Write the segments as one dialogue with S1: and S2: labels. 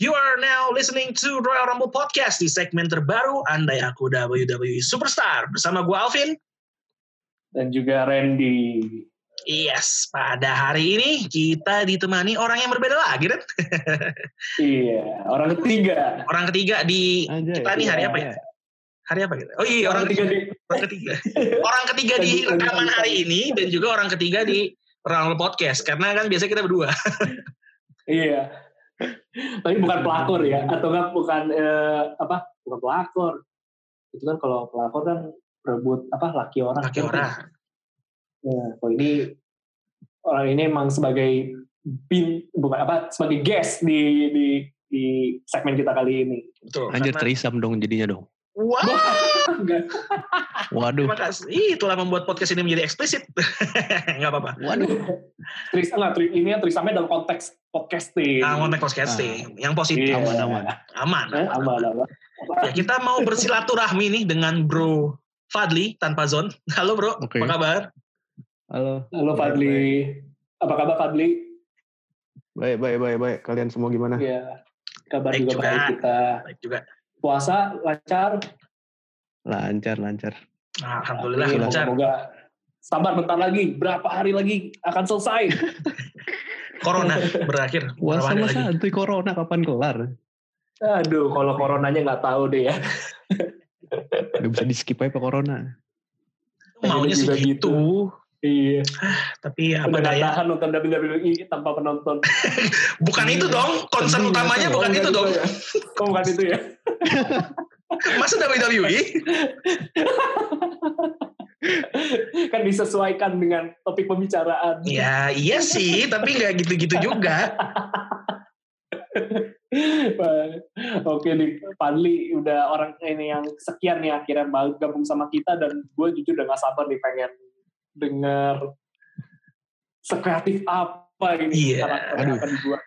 S1: You are now listening to Royal Rumble Podcast di segmen terbaru Andai Aku WWE Superstar bersama gue Alvin.
S2: dan juga Randy.
S1: Yes, pada hari ini kita ditemani orang yang berbeda lagi, Ren.
S2: Iya, orang ketiga.
S1: Orang ketiga di
S3: Anjay.
S1: kita nih hari apa ya? Hari apa kita? Oh iya, orang ketiga,
S2: di
S1: orang ketiga. Orang ketiga di
S2: Lanjut, lanjut,
S1: rekaman
S2: lanjut.
S1: hari ini dan juga orang ketiga di Royal Rumble Podcast karena kan biasanya kita berdua.
S2: Iya. Tapi bukan pelakor ya, atau enggak bukan eh, apa? Bukan pelakor. Itu kan kalau pelakor kan berebut apa laki orang.
S1: Laki orang.
S2: Iya, kalau ini orang ini emang sebagai bin bukan apa sebagai guest di di di segmen kita kali ini.
S1: Betul.
S3: Anjir
S1: karena-
S3: terisam dong jadinya dong.
S1: Wah,
S2: Enggak.
S3: Waduh.
S1: Ah, terima kasih. Ih, Itulah membuat podcast ini menjadi eksplisit. Enggak apa-apa.
S3: Waduh.
S2: Tris enggak Tris, ini Trisamnya dalam konteks podcasting.
S1: Nah, konteks podcasting yang positif,
S2: Iya.
S3: Aman aman.
S1: aman.
S2: Eh, apa apa.
S1: Ya, kita mau bersilaturahmi nih dengan Bro Fadli tanpa zon. Halo Bro,
S3: Oke.
S1: apa kabar?
S3: Halo.
S2: Halo Fadli. Apa kabar Fadli?
S4: Baik, baik, baik, baik. Kalian semua gimana?
S2: Iya. Kabar
S1: Baik
S2: juga,
S1: juga.
S2: baik kita.
S1: Baik juga.
S2: Puasa lancar.
S3: Lancar lancar.
S1: Alhamdulillah
S2: Iya,
S1: lancar.
S2: Semoga sabar bentar lagi. Berapa hari lagi akan selesai?
S1: Corona berakhir.
S3: Wah
S1: Berapa hari
S3: sama
S1: lagi?
S3: santuy corona kapan kelar?
S2: Aduh, kalau coronanya nggak tahu deh ya.
S3: Gak bisa di skip aja corona.
S1: Maunya sih
S2: Juga
S1: gitu.
S2: gitu. Iya.
S1: Tapi ya apa
S2: Udah nggak
S1: daya.
S2: tahan nonton WWE tanpa penonton.
S1: Bukan itu
S2: Iya.
S1: dong. Concern
S3: Tentu,
S1: utamanya
S3: tentu.
S1: bukan
S2: Oh,
S1: itu dong.
S2: ya? Oh, bukan itu ya?
S1: Masa E? WWE?
S2: Kan disesuaikan dengan topik pembicaraan.
S1: Ya iya sih. Tapi nggak gitu-gitu juga.
S2: Oke nih, Fadli udah orang ini yang sekian nih akhirnya mau gabung sama kita dan gue jujur udah gak sabar nih pengen denger sekreatif apa ini
S1: Iya,
S2: karakter
S3: aduh.
S2: yang akan dibuat.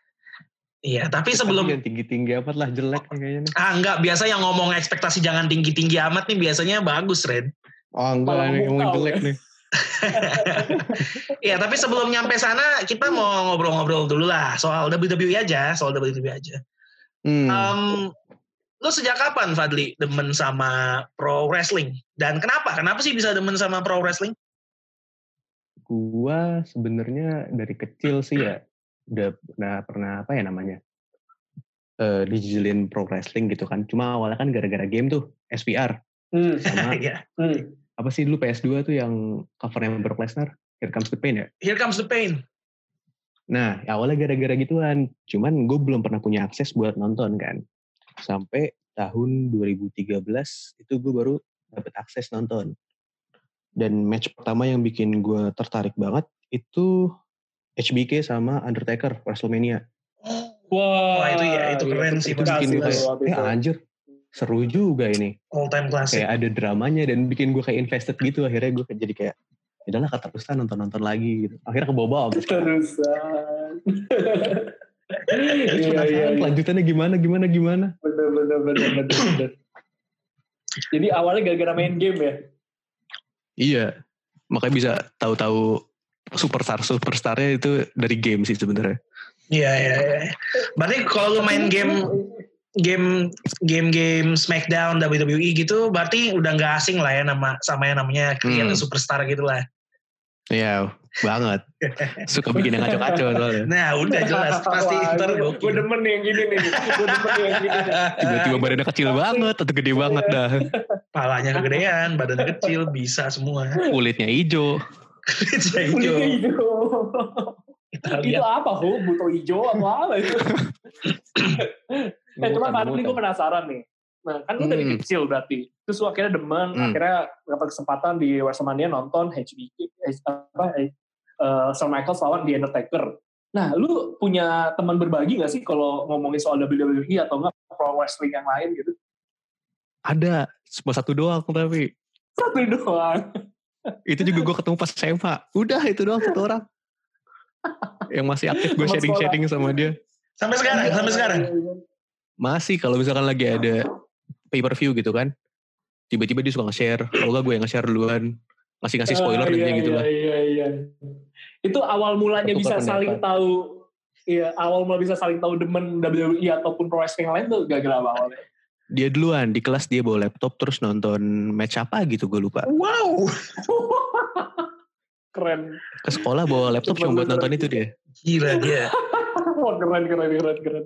S1: Iya tapi sebelum.
S3: yang tinggi tinggi amat lah jelek nih kayaknya nih.
S1: Ah enggak. Biasa yang ngomong ekspektasi jangan tinggi-tinggi amat nih. Biasanya bagus Ren.
S3: Oh enggak
S2: Malah
S3: ini ngomong
S2: memukau,
S3: jelek
S2: ya.
S3: nih.
S1: Ya, tapi sebelum nyampe sana kita mau ngobrol-ngobrol dulu lah soal WWE aja, soal WWE aja.
S3: Hmm.
S1: Um, lu sejak kapan Fadli demen sama pro wrestling dan kenapa? Kenapa sih bisa demen sama pro wrestling?
S3: gua sebenarnya dari kecil sih ya udah pernah pernah apa ya namanya Eh dijilin pro wrestling gitu kan cuma awalnya kan gara-gara game tuh SPR
S2: Hmm,
S3: sama
S1: Iya.
S2: hmm.
S3: apa sih dulu PS2 tuh yang covernya Brock Lesnar Here Comes the Pain ya
S1: Here comes the pain.
S3: nah awalnya gara-gara gituan cuman gue belum pernah punya akses buat nonton kan sampai tahun 2013 itu gue baru dapet akses nonton dan match pertama yang bikin gue tertarik banget itu HBK sama Undertaker WrestleMania
S2: Wah,
S1: itu ya, itu keren sih,
S3: Iya, itu bikin
S1: Kasih
S3: gue
S1: lah
S3: kayak, eh anjir seru juga ini
S1: All time classic.
S3: kayak ada dramanya dan bikin gue kayak invested gitu akhirnya gue jadi kayak udahlah keterusan nonton nonton lagi gitu akhirnya ke bawah
S2: Terusan.
S3: terus
S2: Iya, iya,
S3: penasaran
S2: iya.
S3: lanjutannya gimana gimana gimana
S2: Bener, bener, bener, bener, bener. Jadi awalnya gara-gara main game ya?
S3: iya makanya bisa tahu-tahu superstar superstarnya itu dari game sih sebenarnya
S1: Iya, iya, iya. Berarti kalau lu main game game game game SmackDown WWE gitu, berarti udah nggak asing lah ya nama sama yang namanya Korean
S3: Hmm.
S1: superstar gitu lah.
S3: iya banget suka bikin yang kacau-kacau soalnya.
S1: Nah, udah jelas pasti
S2: Wah, iya.
S1: ntar
S2: Gue
S1: gokil.
S2: demen nih yang gini nih. Gue demen nih yang gini. nih.
S3: tiba-tiba badannya kecil banget atau gede banget dah
S1: Palanya kegedean, badannya kecil, bisa semua.
S3: kulitnya hijau
S1: Kulitnya
S2: Kulitnya
S1: hijau.
S2: hijau.
S1: Kita
S2: itu
S1: lihat.
S2: apa, Ho? Buto hijau apa apa itu? eh, cuma Fadli gue penasaran nih. Nah, kan lu dari
S3: Hmm.
S2: kecil berarti. Terus lu akhirnya demen,
S3: Hmm.
S2: akhirnya dapat kesempatan di WrestleMania nonton HBK, eh, apa, eh, eh, Shawn Michaels lawan The Undertaker. Nah, lu punya teman berbagi gak sih kalau ngomongin soal WWE atau enggak pro wrestling yang lain gitu?
S3: ada cuma satu doang tapi
S2: Satu doang.
S3: itu juga gue ketemu pas SMA udah itu doang satu orang yang masih aktif gue
S2: Teman
S3: sharing sharing sama dia
S1: Sampai sekarang, sampai sekarang.
S2: Iya,
S3: masih kalau misalkan lagi ada pay per view gitu kan tiba-tiba dia suka nge-share kalau nggak gue yang nge-share duluan ngasih ngasih spoiler
S2: Ah,
S3: dan
S2: iya,
S3: kayak gitu
S2: iya,
S3: lah
S2: Iya, iya. Itu awal mulanya bisa
S3: Bertukar
S2: saling
S3: pendapat.
S2: tahu Iya, awal mulai bisa saling tahu demen WWE ataupun pro wrestling lain tuh gara-gara apa awalnya.
S3: Dia duluan di kelas dia bawa laptop terus nonton match apa gitu gue lupa.
S1: Wow.
S2: Keren.
S3: Ke sekolah bawa laptop cuma buat nonton itu dia.
S1: Gila dia.
S2: Wah, keren, keren, keren, keren.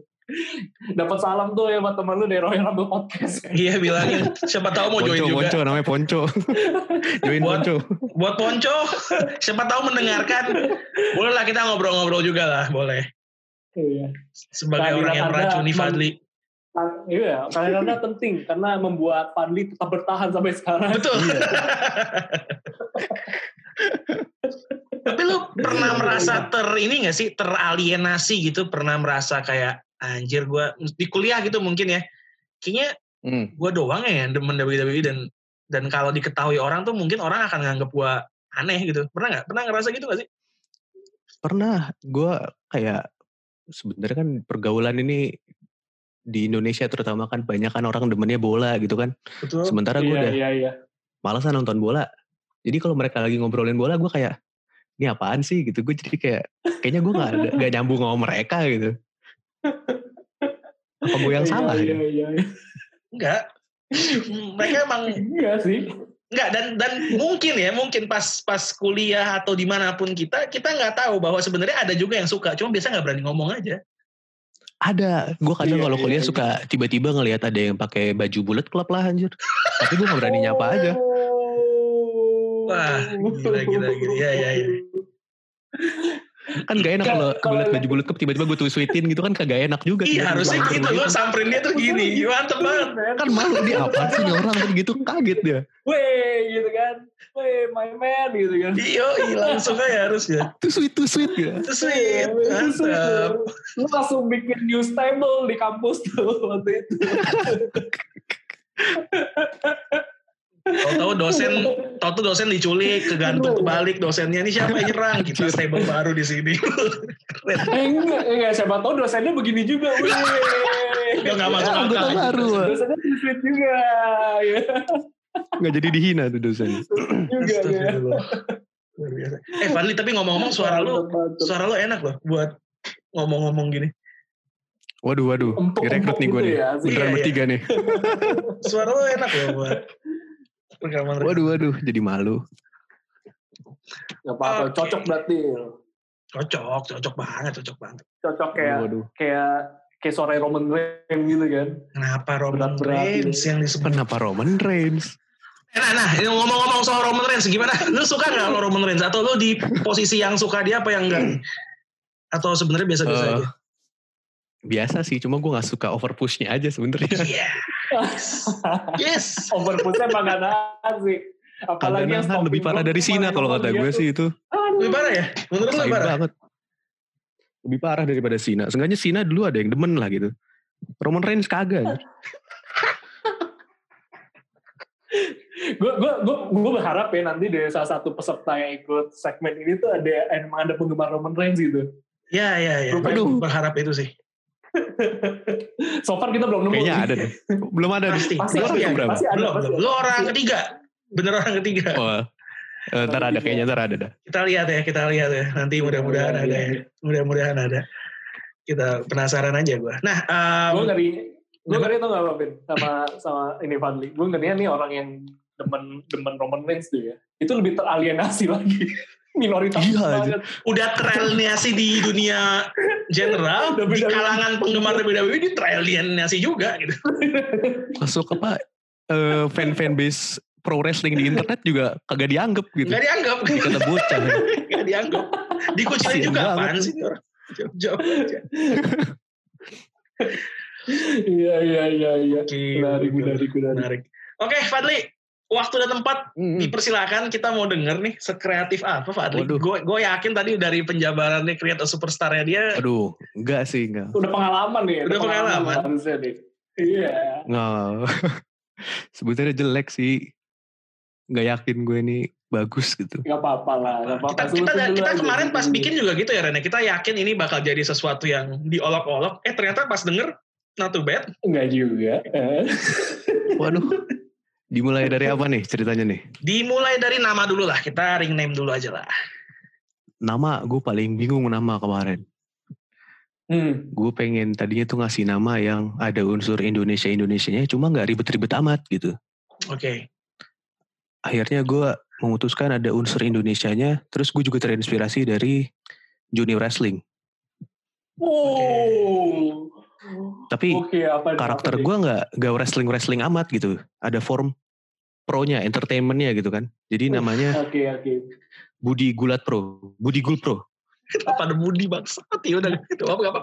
S2: Dapat salam tuh ya buat temen lu dari Royal Rumble Podcast.
S1: Iya bilangin. Siapa tahu mau Oh, join
S3: Ponco,
S1: juga.
S3: ponco namanya ponco. Join
S1: Buat-
S3: ponco.
S1: Buat Ponco. Siapa tahu mendengarkan. Boleh lah kita ngobrol-ngobrol juga lah. Boleh.
S2: Iya.
S1: Sebagai
S2: Kehadiran
S1: orang yang
S2: Anda
S1: meracuni
S2: mem-
S1: Fadli.
S2: Ah, Iya, karena penting karena membuat Fadli tetap bertahan sampai sekarang.
S1: Betul.
S3: Iya.
S1: Tapi lu pernah
S3: Iya.
S1: merasa ter ini gak sih teralienasi gitu? Pernah merasa kayak anjir gua di kuliah gitu mungkin ya. Kayaknya
S3: Hmm.
S1: gua doang ya yang demen WWE dan dan kalau diketahui orang tuh mungkin orang akan nganggap gua aneh gitu. Pernah nggak? Pernah ngerasa gitu gak sih?
S3: Pernah gue kayak sebenarnya kan pergaulan ini di Indonesia terutama kan banyak kan orang demennya bola gitu kan.
S1: Betul.
S3: Sementara gue
S2: Iya,
S3: udah
S2: iya, iya.
S3: malasan nonton bola. Jadi kalau mereka lagi ngobrolin bola gue kayak ini apaan sih gitu. Gue jadi kayak kayaknya gue gak, gak nyambung sama mereka gitu. Apa gue yang
S2: Iya,
S3: salah
S2: Iya,
S3: ya?
S2: iya, iya.
S1: Enggak. Mereka emang
S2: Iya sih.
S1: enggak dan dan mungkin ya mungkin pas pas kuliah atau dimanapun kita kita nggak tahu bahwa sebenarnya ada juga yang suka cuma biasa nggak berani ngomong aja
S3: Ada. Gue kadang
S2: Iya,
S3: kalau
S2: iya,
S3: kuliah
S2: iya.
S3: suka tiba-tiba ngelihat ada yang pakai baju bulat klub lah anjir. Tapi gue gak berani nyapa aja.
S2: Oh.
S1: Wah, gila, gila, gila. Iya, iya, iya.
S3: Kan gak enak
S2: Iya,
S3: kalau gue
S2: kalau-
S3: liat baju bulat klub tiba-tiba gue tweetin gitu kan kagak enak juga.
S1: iya
S3: tiba-tiba
S1: harusnya
S3: gua
S1: gitu lo
S3: tweetin.
S1: samperin dia tuh gini mantep banget
S3: Kan malu dia apaan sih nih orang kan gitu kaget dia.
S2: Weh, gitu kan. Weh, my man, gitu kan.
S1: iyo iyo, langsung aja harusnya
S3: Tuh sweet tuh sweet gitu.
S1: itu sweet
S2: Weh, Iya, itu sweet.
S1: mantep
S2: Lu langsung bikin news table di kampus tuh waktu itu.
S1: tahu dosen tahu dosen diculik kegantung kebalik dosennya ini siapa yang nyerang kita stable baru di sini
S2: Eh, enggak, enggak. Siapa tau dosennya begini juga. Weh.
S1: udah nggak masuk
S3: Ah, anggota
S1: akal
S3: baru.
S2: Dosennya sweet juga. Ya,
S3: Gak jadi dihina tuh dosen.
S2: juga ya.
S1: Astagfirullah. Luar biasa. eh Fadli tapi ngomong-ngomong suara lu
S2: Mantap, mantap.
S1: suara lu enak loh buat ngomong-ngomong gini.
S3: Waduh waduh.
S2: Empuk-empuk
S3: Direkrut nih gue
S2: gitu
S3: nih.
S2: ya, asik.
S3: Beneran
S1: Iya, iya.
S3: bertiga nih.
S1: Suara lu enak loh buat rekaman.
S3: Waduh waduh jadi malu.
S2: Gak apa-apa,
S1: Oke.
S2: cocok berarti.
S1: Cocok, cocok banget, cocok banget.
S2: Cocok kayak
S3: Waduh.
S2: kayak kayak sore Roman Reigns gitu kan.
S1: Kenapa Roman
S2: Berat-berat
S1: Reigns yang disebut?
S3: Kenapa Roman Reigns?
S1: Eh, Nah, nah, ini ngomong-ngomong soal Roman Reigns gimana? Lu suka nggak sama Roman Reigns? Atau lu di posisi yang suka dia apa yang enggak? Atau sebenarnya biasa-biasa
S3: Eh,
S1: aja?
S3: Biasa sih, cuma gue gak suka over pushnya aja sebenarnya.
S1: Iya. Yes.
S2: Overpusnya emang gak nahan sih.
S3: Kagak
S2: Apalagi yang
S3: nahan, lebih
S2: stopping
S3: parah
S2: block
S3: dari Sina
S2: kemarin
S3: kalau kata
S2: dia
S3: gue
S2: tuh.
S3: sih itu.
S2: Aduh.
S1: Lebih parah ya? Menurut lu
S3: Sain
S1: lebih parah?
S3: banget. Lebih parah daripada Sina. Seenggaknya Sina dulu ada yang demen lah gitu. Roman Reigns kagak.
S2: Gue gue gue gue berharap ya nanti dari salah satu peserta yang ikut segmen ini tuh ada emang ada penggemar Roman Reigns gitu.
S1: Iya, iya, iya.
S2: Lu
S1: Aduh.
S2: pengen-
S1: Berharap itu sih.
S2: So far kita belum nemu.
S3: Kayaknya ada deh. Belum ada deh.
S1: Pasti.
S2: Pasti,
S1: Lu
S2: pasti,
S1: orang
S2: ada, ya?
S3: keberapa?
S2: pasti ada.
S1: Belum,
S2: pasti
S1: belum.
S2: ada.
S1: Lu orang ketiga. Bener orang ketiga.
S3: Oh, eh, ntar ada kayaknya ntar ada dah.
S1: kita lihat ya kita lihat ya nanti mudah-mudahan
S2: Iya,
S1: ada
S2: iya,
S1: ya
S2: iya.
S1: mudah-mudahan ada kita penasaran aja gua nah em,
S2: gue ngeri gue ngeri tau gak apa Bin sama sama ini Fadli gue ngerinya nih orang yang demen demen Roman Reigns tuh ya itu lebih teralienasi lagi minoritas
S3: Iya,
S2: banget
S1: udah teralienasi di dunia general di
S2: WWE.
S1: kalangan penggemar WWE ini teralienasi juga gitu
S3: Masuk apa? eh, fan-fan base pro wrestling di internet juga kagak dianggap gitu.
S1: nggak dianggap
S3: Kata bocah. ya.
S1: nggak dianggap dikucilin
S3: Kasian
S1: juga
S3: banget.
S1: apaan sih ini orang Jawab- jawab aja.
S2: iya iya iya iya
S1: Oke,
S2: menarik menarik menarik
S1: menarik oke Fadli waktu dan tempat
S2: Hmm.
S3: Mm-mm.
S1: dipersilakan kita mau denger nih sekreatif apa Fadli
S3: Waduh.
S1: gue gue yakin tadi dari penjabarannya create a superstarnya dia
S3: Aduh, enggak sih, enggak.
S2: udah pengalaman nih
S1: Udah pengalaman.
S2: harusnya nih iya
S3: Nggak. Sebenarnya jelek sih. Nggak yakin gue ini bagus gitu.
S2: nggak apa-apa lah nggak
S1: kita kita
S2: apa-apa Sebutin dulu
S1: kita
S2: aja,
S1: kemarin
S2: sebutin
S1: pas
S2: dulu.
S1: bikin juga gitu ya Rene kita yakin ini bakal jadi sesuatu yang diolok-olok eh ternyata pas denger not too bad
S2: nggak juga Eh.
S3: Waduh. Dimulai dari apa nih ceritanya nih?
S1: dimulai dari nama dulu lah kita ring name dulu aja lah
S3: Nama gue paling bingung nama kemarin.
S2: Hmm.
S3: gue pengen tadinya tuh ngasih nama yang ada unsur Indonesia Indonesianya cuma nggak ribet-ribet amat gitu
S1: Oke.
S3: akhirnya gue memutuskan ada unsur Indonesianya terus gue juga terinspirasi dari junior wrestling
S2: Wow.
S3: tapi
S2: Oke, apa
S3: karakter
S2: apa-
S3: gue nggak nggak wrestling wrestling amat gitu ada form pro-nya entertainment-nya gitu kan jadi namanya
S2: Oke, oke.
S3: Budi Gulat Pro Budi Gul Pro
S1: Pada Budi bangsat ya udah gitu apa apa.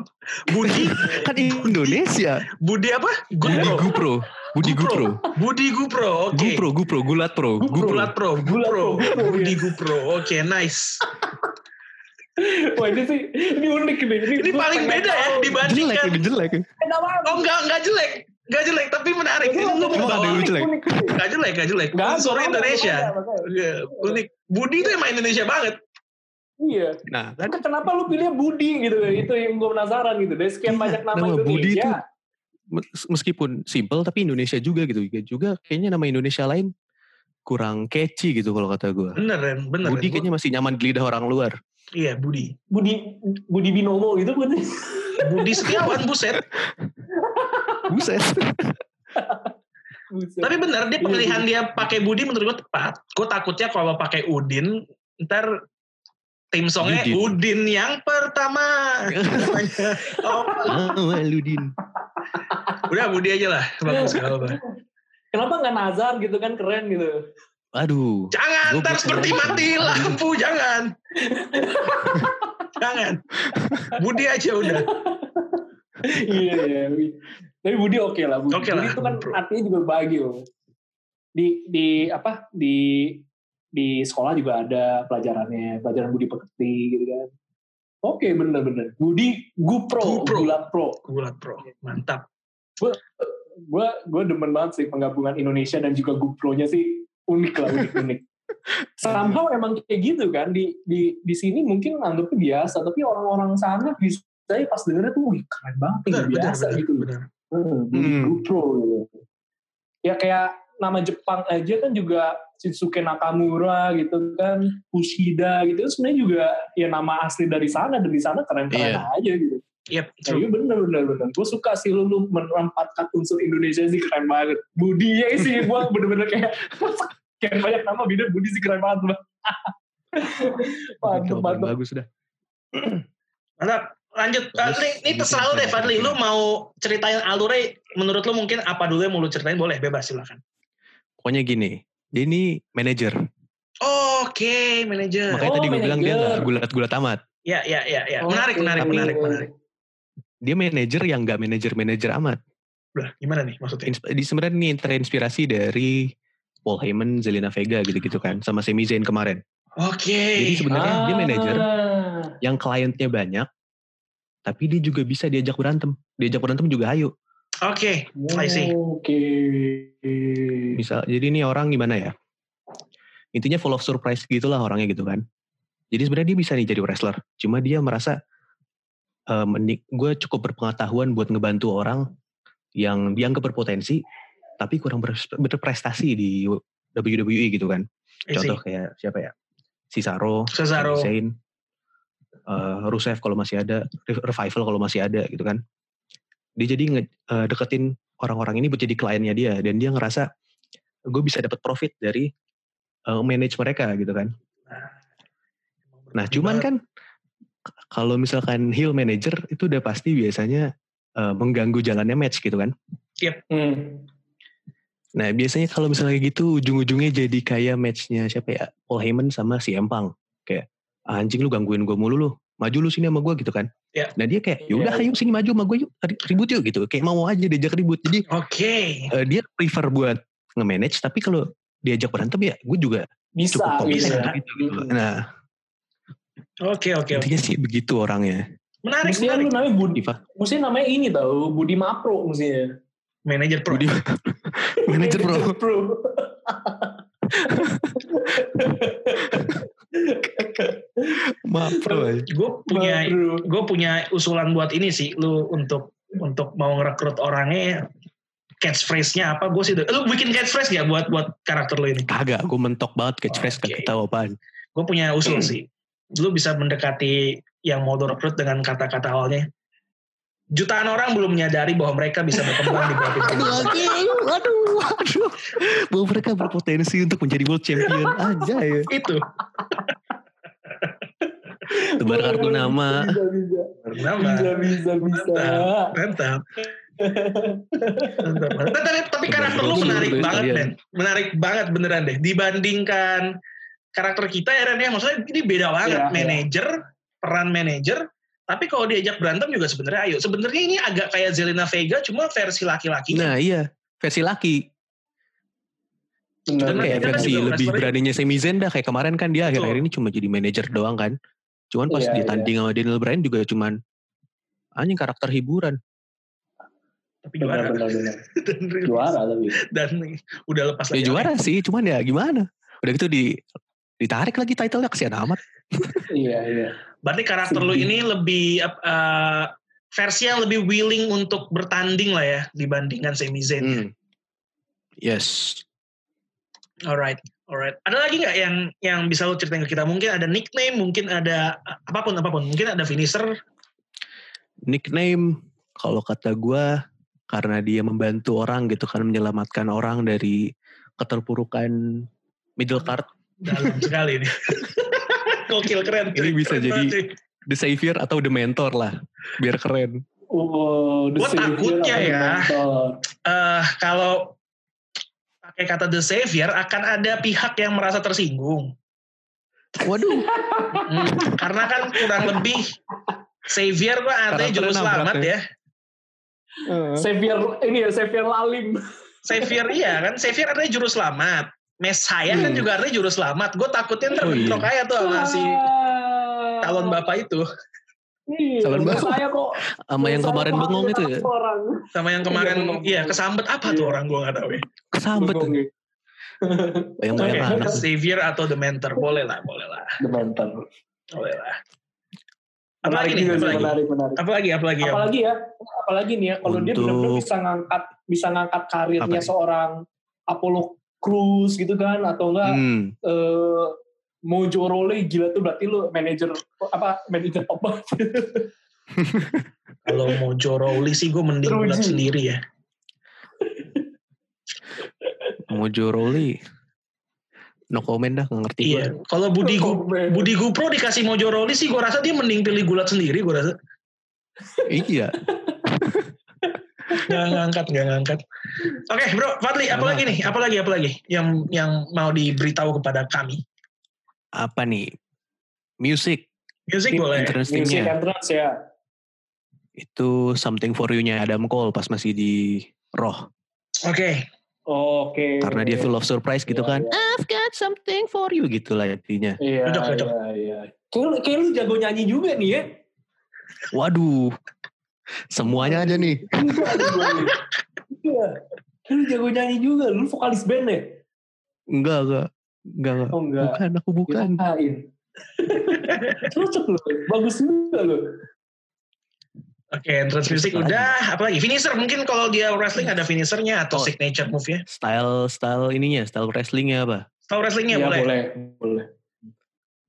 S1: Budi
S3: kan Indonesia
S1: Budi apa?
S3: Budi
S1: Gupro.
S3: Gupro Budi Gupro
S1: Budi Gupro. Oke.
S3: Gupro Gupro Gulat Pro Gupro
S1: Gulat Pro,
S2: Gulat Pro,
S1: Gupro,
S2: Gupro, ya.
S1: Budi
S2: yes.
S1: Gupro. Oke, nice.
S2: Wah, ini sih ini unik nih.
S1: Ini
S2: gua
S1: paling
S2: pengen
S1: beda ya
S2: tahu. Eh,
S3: jelek ini
S1: dibandingkan.
S3: jelek
S2: Beda banget.
S1: Oh enggak, enggak jelek. Enggak jelek, tapi menarik. Ini lu
S3: Emang ada yang
S1: bawa.
S3: lucu? jelek?
S2: Unik.
S1: Enggak jelek, enggak jelek.
S2: Nggak ada,
S1: Unsur
S2: nggak ada,
S1: Indonesia.
S2: nggak ada, nggak ada.
S1: Iya, unik. Budi itu emang Indonesia banget.
S2: Iya.
S3: nah kan
S2: Kan kenapa lu pilih Budi gitu? Itu yang gue penasaran gitu. Dari sekian
S3: Iya,
S2: banyak nama,
S3: nama
S2: Indonesia.
S3: Budi itu- mes- meskipun simple tapi Indonesia juga gitu juga, juga kayaknya nama Indonesia lain kurang catchy gitu kalau kata gue
S1: Beneran, beneran.
S3: Budi kayaknya masih nyaman di lidah orang luar
S1: Iya, Budi.
S2: Budi Budi Binomo gitu Budi.
S1: Budi Setiawan, buset.
S3: buset
S1: Tapi benar dia
S2: Iya,
S1: pemilihan dia pakai Budi menurut gue tepat. Gue takutnya kalau pakai Udin ntar tim songnya
S3: Yudin.
S1: Udin yang pertama. oh,
S3: Awaludin
S1: udah Budi aja lah. Bagus gak apa-apa.
S2: kenapa nggak Nazar gitu kan keren gitu.
S3: aduh
S1: Jangan
S3: Gua
S1: ntar
S3: bukan
S1: seperti
S3: orang
S1: mati
S3: Budi.
S1: lampu jangan. jangan. Budi aja udah.
S2: Iya iya. Tapi Budi oke lah Budi.
S1: Oke
S2: Budi
S1: lah,
S2: itu kan
S1: bro.
S2: artinya juga bahagia. loh. Di di apa di di sekolah juga ada pelajarannya pelajaran Budi Pekerti gitu kan. Oke bener-bener. Budi Gupro,
S1: Gupro.
S2: Gulat Pro.
S1: Gulat bro, mantap.
S2: gue gue demen banget sih penggabungan Indonesia dan juga GoPro-nya sih unik lah unik unik somehow emang kayak gitu kan di di di sini mungkin anggapnya biasa tapi orang-orang sana bisa aja pas dengernya tuh wih keren banget nih,
S1: Benar, benar,
S2: biasa
S1: benar,
S2: gitu
S1: benar.
S2: Hmm, Budi
S3: Hmm.
S2: GoPro gitu ya kayak nama Jepang aja kan juga Shinsuke Nakamura gitu kan Kushida gitu sebenarnya juga ya nama asli dari sana dari sana keren-keren aja gitu
S1: Yep,
S2: Ya,
S1: true.
S2: iya bener bener bener. Gue suka sih lu, lu menempatkan unsur Indonesia sih keren banget. Budi ya sih gue bener-bener kayak kayak banyak nama beda Budi sih keren banget. Bang. mantep
S3: Jawaban
S2: mantep.
S3: bagus dah
S1: Mantap. Lanjut.
S3: Bagus.
S1: Fadli, ini
S3: Ini
S1: terserah lu deh
S3: ceritanya.
S1: Fadli. Lu mau ceritain alurnya menurut lu mungkin apa dulu yang mau lu ceritain boleh bebas silakan.
S3: pokoknya gini dia ini manajer
S1: Oke, manajer.
S2: Eh,
S3: makanya
S2: Oh,
S3: tadi gue bilang dia
S2: manajer.
S3: nggak gulat-gulat amat
S1: Ya, ya, ya, ya. Menarik,
S2: Oke.
S1: menarik, menarik, menarik.
S3: dia manajer yang nggak manajer-manajer amat
S1: Lah, gimana nih maksudnya?
S3: Insp- di sebenarnya ini terinspirasi dari Paul Heyman, Zelina Vega gitu-gitu kan sama Sami Zayn kemarin Jadi
S1: Oke.
S3: sebenarnya dia
S2: Ah.
S3: manajer. yang kliennya banyak tapi dia juga bisa diajak berantem diajak berantem juga ayo
S1: Oke. I see.
S2: Oke.
S3: misal jadi ini orang gimana ya intinya full of surprise gitulah orangnya gitu kan jadi sebenarnya dia bisa nih jadi wrestler cuma dia merasa gue cukup berpengetahuan buat ngebantu orang yang dianggap berpotensi tapi kurang ber- berprestasi di WWE gitu kan
S1: I see.
S3: contoh kayak siapa ya Cesaro
S1: Cesaro.
S3: Zayn, eh, Rusev kalau masih ada, Re- Revival kalau masih ada gitu kan. Dia jadi nge, eh, deketin orang-orang ini buat jadi kliennya dia dan dia ngerasa gue bisa dapat profit dari eh, manage mereka gitu kan.
S1: Iya.
S3: Nah cuman kan k- kalau misalkan heel manager itu udah pasti biasanya eh, mengganggu jalannya match gitu kan.
S2: Hmm.
S3: Nah biasanya kalau misalnya kayak gitu ujung-ujungnya jadi kayak matchnya siapa ya Paul Heyman sama si Empang kayak "Ah, anjing lu gangguin gue mulu lu maju lu sini sama gue gitu kan.
S1: Ya.
S3: Nah dia kayak yaudah
S2: Iya.
S3: ayo sini maju sama gue yuk ribut yuk gitu kayak mau aja diajak ribut jadi
S1: Oke.
S3: eh, dia prefer buat nge-manage tapi kalau diajak berantem ya gue juga
S2: Bisa
S3: cukup kompeten
S2: bisa.
S1: bisa.
S2: Hmm.
S3: untuk itu gitu. Nah
S1: Oke, oke. oke.
S3: intinya sih begitu orangnya.
S1: Menarik,
S2: Mestinya
S1: menarik.
S2: lu namanya Budi.
S3: Iva.
S2: Mestinya namanya ini tau. Budi Mapro mestinya.
S1: Manajer pro.
S3: Budi manager bro.
S2: Pro.
S3: Maaf bro.
S1: Gue
S3: Iya,
S1: punya
S2: Bro.
S1: gue punya usulan buat ini sih lu untuk untuk mau ngerekrut orangnya catchphrase-nya apa gue sih udah- lu bikin catchphrase gak buat buat karakter lu ini
S3: Kagak gue mentok banget catchphrase
S1: Oke.
S3: gak tahu apaan.
S1: gue punya usul sih lu bisa mendekati yang mau lu rekrut dengan kata-kata awalnya jutaan orang belum menyadari bahwa mereka bisa berkembang di bawah pimpinan
S3: Aduh, anjing, aduh, aduh. Bahwa mereka berpotensi untuk menjadi world champion aja ya.
S1: itu
S3: Tebar
S2: Iya,
S3: kartu nama.
S2: Bisa, bisa. Bisa,
S1: Kenapa?
S2: bisa, bisa.
S1: mantap mantap mantap. tapi, tapi karakter lu menarik
S3: Bener-bener
S1: banget
S3: kalian.
S1: men menarik banget beneran deh dibandingkan karakter kita ya Ren ya maksudnya ini beda banget
S2: Iya, iya.
S1: manajer peran manajer tapi kalau diajak berantem juga sebenarnya ayo sebenarnya ini agak kayak Zelena Vega cuma versi laki-laki
S3: Nah iya, versi laki.
S2: Benar,
S3: Dan kayak
S2: benar.
S3: versi
S1: juga
S3: lebih
S1: wrestler.
S3: beraninya Sami Zayn dah. Kayak kemarin kan dia
S1: Betul.
S3: akhir-akhir ini cuma jadi manajer doang kan. Cuman pas
S2: Iya,
S3: dia
S2: iya.
S3: tanding sama Daniel Bryan juga cuman anjing karakter hiburan.
S1: tapi juara
S2: Benar, benar, benar.
S1: dan,
S2: Juara tapi.
S1: dan udah lepas
S3: Ya juara sih, cuman ya gimana. Udah gitu di ditarik lagi title-nya kesian amat.
S2: Iya, iya.
S1: Berarti karakter lu
S2: Sedih.
S1: ini lebih ap- eh, versi yang lebih willing untuk bertanding lah ya dibandingkan Sami Zayn.
S3: Hmm. Yes.
S1: Alright, alright. Ada lagi nggak yang yang bisa lu ceritain ke kita? Mungkin ada nickname, mungkin ada eh, apapun apapun. Mungkin ada finisher.
S3: Nickname kalau kata gua karena dia membantu orang gitu kan menyelamatkan orang dari keterpurukan middle card
S1: Dalam sekali ini. Gokil keren.
S3: Ini
S1: cuy.
S3: bisa
S1: Keren
S3: jadi-
S1: banget, cuy.
S3: the savior atau the mentor lah biar keren
S2: Oh, the
S1: Gua
S2: Savior
S1: takutnya
S2: apa
S1: ya.
S2: Mentor.
S1: Eh, kalau pakai kata the savior akan ada pihak yang merasa tersinggung.
S3: waduh
S1: Hmm, karena kan kurang lebih savior kok artinya
S3: Karakternya
S1: juru selamat
S3: nabrak
S1: ya.
S2: Savior ini ya Savior Lalim.
S1: Savior iya kan, Savior artinya juru selamat. Messiah kan
S2: Hmm.
S1: juga artinya juru selamat. Gue takutnya ntar
S3: Iya. Oh, iya.
S1: bentrok aja tuh sama si calon bapak itu.
S2: Ah. Iya,
S3: Calon bapak.
S2: Saya kok
S3: sama yang kemarin bengong itu ya,
S2: Orang.
S1: Sama yang
S2: Iya,
S1: kemarin,
S2: bener.
S1: iya kesambet apa tuh
S2: Iya.
S1: orang gue gak tau ya.
S3: kesambet
S2: Bengong,
S3: tuh.
S2: ya.
S3: yang
S1: Oke,
S3: banyak anak
S1: Savior atau The Mentor, boleh lah, boleh lah,
S2: The Mentor.
S1: boleh lah. Apa
S2: Menarik
S1: lagi nih,
S2: juga
S1: apa
S2: sih,
S1: lagi?
S2: menarik, menarik.
S1: Apa lagi, apa lagi? ya?
S2: apalagi ya apalagi nih ya kalau dia
S3: Untuk-
S2: benar-benar bisa ngangkat bisa ngangkat karirnya
S3: Apa ya?
S2: seorang Apollo Cruz gitu kan atau enggak
S3: hmm.
S2: eh, Mojo Rawley gila tuh berarti lu manajer apa manajer top banget.
S1: Kalau mau joroli sih gue mending
S2: Teruji.
S1: bulat sendiri ya.
S3: Mojo Rawley no comment dah gak ngerti gua.
S1: Iya, kalau Budi Gu-
S2: Komen.
S1: Budi Gupro dikasih mau joroli sih gue rasa dia mending pilih gulat sendiri gue rasa.
S3: iya
S1: Gak ngangkat, gak ngangkat. Oke bro, Fadli, apa lagi nih? Apa lagi, apa lagi yang yang mau diberitahu kepada kami?
S3: apa nih music
S2: Iya,
S1: Music boleh.
S3: entrance
S2: Music
S3: teamnya
S2: entrance ya.
S3: itu something for you nya Adam Cole pas masih di Roh
S1: Oke,
S2: Oke.
S3: karena dia full of surprise
S2: Iya,
S3: gitu kan
S2: iya.
S3: I've got something for you gitu lah intinya
S2: Iya,
S1: Cocok, cocok.
S2: iya, iya. Kayak lu- kayak lu jago nyanyi juga nih ya.
S3: waduh semuanya aja nih
S2: Enggak, gua nih. Iya. Kayak Lu jago nyanyi juga, lu vokalis band ya?
S3: enggak enggak enggak, enggak.
S2: Oh enggak.
S3: bukan aku bukan
S2: Dipakain. Cocok loh, bagus juga loh.
S1: oke entrance music
S3: Apa lagi?
S1: udah. Apa lagi? Finisher mungkin kalau dia wrestling ada finishernya atau
S3: Oh.
S1: signature move ya?
S3: style style ininya style wrestlingnya apa
S1: Tahu
S3: Iya,
S1: wrestlingnya boleh.
S2: Iya, boleh.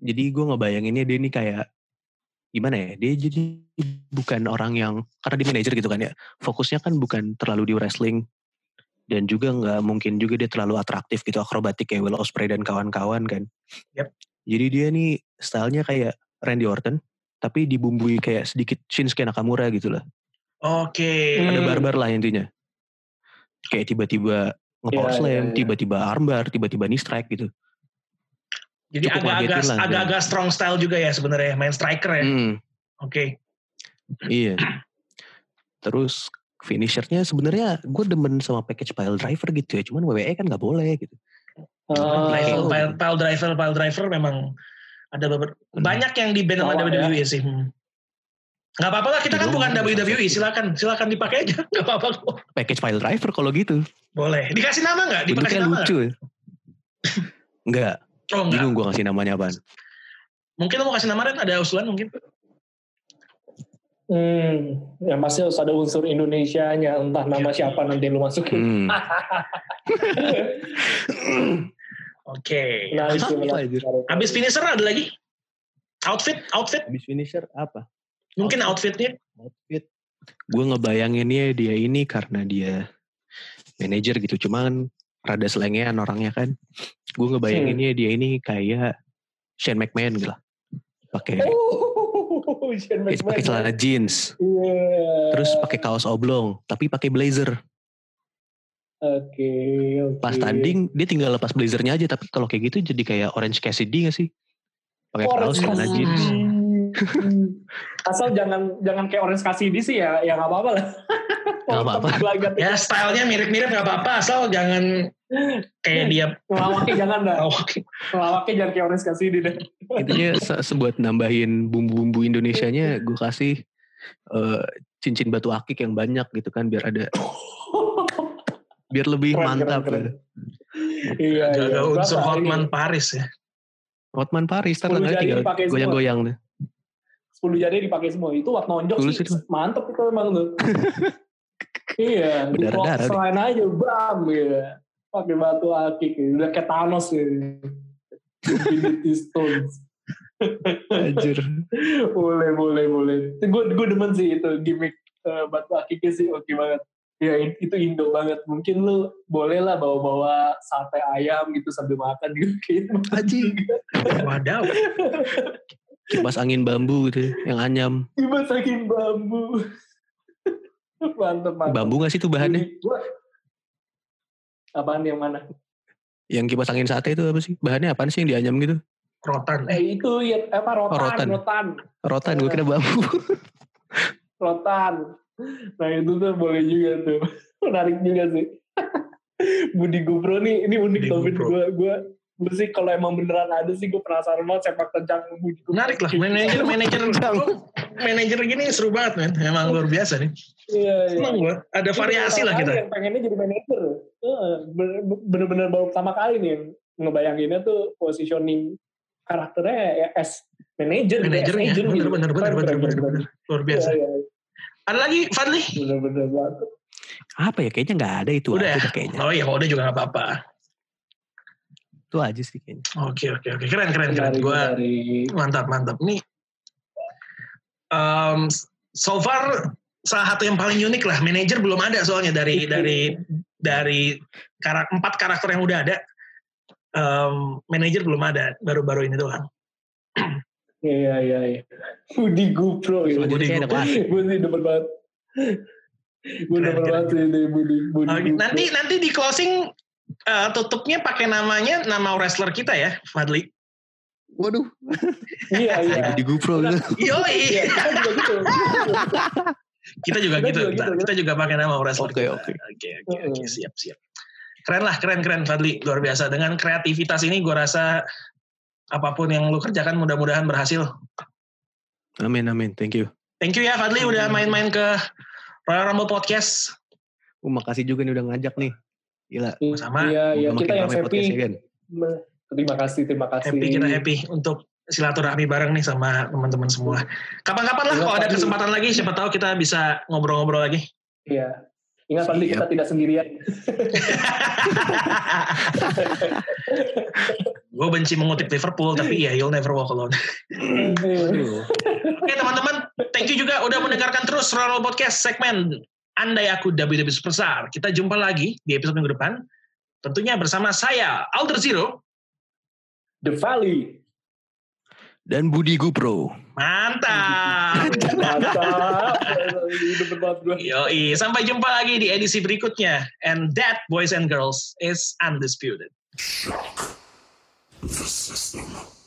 S3: jadi gue ngebayanginnya dia ini kayak gimana ya dia jadi bukan orang yang karena dia manajer gitu kan ya fokusnya kan bukan terlalu di wrestling dan juga nggak mungkin juga dia terlalu atraktif gitu akrobatik kayak Will Ospreay dan kawan-kawan kan
S1: Yep.
S3: jadi dia nih stylenya kayak Randy Orton tapi dibumbui kayak sedikit Shinsuke Nakamura gitu lah
S1: Oke.
S3: ada
S2: Hmm.
S3: barbar lah intinya kayak tiba-tiba ngepower
S2: Iya,
S3: slam
S2: iya, iya.
S3: tiba-tiba armbar tiba-tiba knee strike gitu
S1: Jadi
S3: Cukup
S1: agak-agak
S3: ngagetin lah,
S1: agak-agak strong style juga ya sebenarnya main striker ya.
S2: Hmm.
S3: Mm.
S1: Oke.
S3: Iya. Terus finishernya sebenarnya gue demen sama package pile driver gitu ya. Cuman WWE kan nggak boleh gitu.
S2: Ah,
S1: Pile,
S3: Oh.
S1: pile, pile driver, pile driver memang ada beberapa
S3: Hmm.
S1: banyak yang di band sama
S2: Lawan ya.
S1: WWE sih. Hmm. Gak apa-apa lah, kita kan
S3: Belum
S1: bukan
S3: ada
S1: WWE,
S3: satu.
S1: silakan silakan dipakai aja, gak apa-apa kok.
S3: Package pile driver kalau gitu.
S1: Boleh. Dikasih nama nggak? Dikasih
S3: Bentuknya
S1: nama nggak?
S3: kan lucu. Enggak,
S1: Oh nggak.
S3: bingung gue ngasih namanya apaan.
S1: Mungkin lo mau kasih nama Ren, ada usulan mungkin.
S2: Hmm, ya pasti harus ada unsur Indonesianya, entah nama
S3: Iya.
S2: siapa nanti lu masukin.
S3: Hmm.
S1: Oke.
S2: Nah, Menarik sih,
S3: Iya. Apa,
S2: menarik.
S3: anjir?
S2: menarik.
S1: Habis finisher ada lagi? Outfit, outfit.
S3: Habis finisher apa?
S1: Mungkin outfitnya.
S3: Outfit. gue ngebayanginnya dia ini karena dia manajer gitu cuman rada selengean orangnya kan gue ngebayanginnya dia ini kayak Shane McMahon gitu lah pakai
S2: Oh, Shane
S3: Eh, pakai
S2: McMahon.
S3: celana jeans
S2: Iya.
S3: terus pakai kaos oblong tapi pakai blazer
S2: Oke, oke.
S3: pas tanding dia tinggal lepas blazernya aja tapi kalau kayak gitu jadi kayak Orange Cassidy gak sih pakai kaos
S2: Orange
S3: celana
S2: Cassidy.
S3: jeans
S2: Asal jangan jangan kayak Orange Cassidy sih ya, ya nggak apa-apa lah.
S3: Nggak apa-apa.
S2: Belagat.
S1: ya stylenya mirip-mirip nggak apa-apa asal jangan kayak dia
S2: Ngelawaknya jangan dah.
S1: oh,
S2: Ngelawaknya jangan kayak Orange Cassidy deh.
S3: intinya se- sebuat nambahin bumbu-bumbu
S2: Iya,
S3: Indonesianya gue kasih eh, cincin batu akik yang banyak gitu kan biar ada biar lebih
S2: Keren,
S3: mantap
S2: keren,
S3: gitu.
S2: iya, iya.
S1: jaga unsur
S2: Berapa hari?
S1: Hotman Paris ya
S3: Hotman Paris
S2: 10
S3: ntar tangannya
S2: jari
S3: tinggal
S2: dipakai semua.
S3: goyang-goyang deh.
S2: 10 jari dipakai semua. Itu waktu nonjok
S3: Tulus
S2: sih.
S3: itu.
S2: Mantep itu emang tuh. iya.
S3: Berdarah-darah deh.
S2: Selain aja, bam. Gitu. Pakai batu akik. gitu. Udah kayak Thanos gitu. Infinity Stones.
S3: Anjir.
S2: boleh, boleh, boleh. Gue gue demen sih itu gimmick eh, batu akiknya sih oke banget. Ya i- itu Indo banget. Mungkin lu boleh lah bawa-bawa sate ayam gitu sambil makan gitu. Kayaknya
S3: Anjir.
S1: wadaw
S3: Kipas angin bambu gitu yang anyam.
S2: Cuma saking bambu. mantep, mantep.
S3: Bambu gak sih tuh bahannya?
S2: Unik gua. Apaan yang mana? Iya.
S3: Yang kipas angin sate itu apa sih? Bahannya apaan sih yang dianyam gitu?
S1: rotan eh
S2: Eh itu ya apa rotan,
S3: Oh, rotan.
S2: rotan, rotan,
S3: Rotan
S2: Iya.
S3: gue kira bambu.
S2: Nah itu tuh boleh juga tuh. Menarik juga sih. Budi Gubro nih, ini unik
S1: Budi
S2: tau
S1: Gubro.
S2: gue gue gue sih kalau emang beneran ada sih gue penasaran banget sepak terjang Budi Gubro.
S1: menarik lah manajer manajer
S3: Jangan.
S1: manajer gini seru banget men emang luar biasa nih
S2: Iya, iya.
S1: seneng gue ada variasi lah kita
S2: Yang pengennya jadi manajer. Heeh, bener- Bener-bener baru pertama kali nih ngebayanginnya tuh positioning karakternya ya as manajer.
S1: manajernya
S2: as agent
S1: bener
S2: gitu.
S1: bener bener
S2: Keren,
S1: bener
S2: keren,
S1: bener
S2: keren,
S1: bener luar
S2: keren.
S1: biasa
S2: Iya, iya.
S1: ada lagi Fadli
S2: Bener-bener banget.
S3: apa ya kayaknya nggak ada itu
S1: udah
S3: aja
S1: ya
S3: deh kayaknya.
S1: oh iya kalau udah juga nggak apa-apa
S3: Itu aja sih kayaknya.
S1: oke oke oke keren kan? keren keren
S2: Menarik,
S1: gue
S2: menarik.
S1: mantap mantap nih um, so far salah satu yang paling unik lah manajer belum ada soalnya dari dari dari karak, empat karakter yang udah ada um, manajer belum ada baru-baru ini doang
S2: Iya, iya, iya. Budi Gubro. gitu.
S3: Selanjutnya kayak ada klasik.
S2: Gue sih demen banget. Gue
S1: Keren,
S2: demen
S1: keren.
S2: banget sih ini Budi, Budi
S1: Hmm, Oke,
S2: Gubro.
S1: nanti nanti di closing uh, tutupnya pakai namanya nama wrestler kita ya Fadli
S3: Waduh.
S2: Iya, iya.
S3: Kayak di GoPro gitu.
S2: Iya,
S1: yoi
S2: kita
S1: kita juga gitu
S2: juga gitu. Kita juga
S1: kita,
S2: gitu.
S1: kita juga pakai nama wrestler
S3: Oke
S1: kita.
S3: oke.
S1: Oke oke
S2: Mm-mm.
S1: oke siap siap. Keren lah keren keren Fadli luar biasa dengan kreativitas ini gue rasa apapun yang lu kerjakan mudah-mudahan berhasil.
S3: Amin amin. Thank you.
S1: Thank you ya Fadli udah main-main ke Royal Rumble Podcast.
S3: Oh, makasih juga nih udah ngajak nih. Gila.
S1: Sama.
S2: Iya, iya.
S3: Makin
S2: Kita yang
S3: ramai
S2: happy.
S3: podcastnya, Gan.
S2: Me- Terima kasih, terima kasih.
S1: ya, Happy kita happy untuk silaturahmi bareng nih sama teman-teman semua. Kapan-kapan lah
S2: Iya,
S1: kalau ada
S2: Fadli.
S1: kesempatan lagi siapa tahu kita bisa ngobrol-ngobrol lagi.
S2: Iya. Ingat Fadli,
S3: Siap.
S2: kita tidak sendirian.
S1: gue benci mengutip Liverpool tapi
S2: Iya.
S1: ya you'll never walk alone.
S3: Aduh.
S1: Oke teman-teman, thank you juga udah mendengarkan terus Royal Rumble Podcast segmen Andai Aku WWE Superstar. Kita jumpa lagi di episode minggu depan. Tentunya bersama saya, Alter Zero.
S2: The Valley.
S3: Dan Budi GoPro.
S1: Mantap!
S2: Mantap. Demen banget gue.
S1: Yoi, sampai jumpa lagi di edisi berikutnya. And that, boys and girls, is undisputed.
S5: The system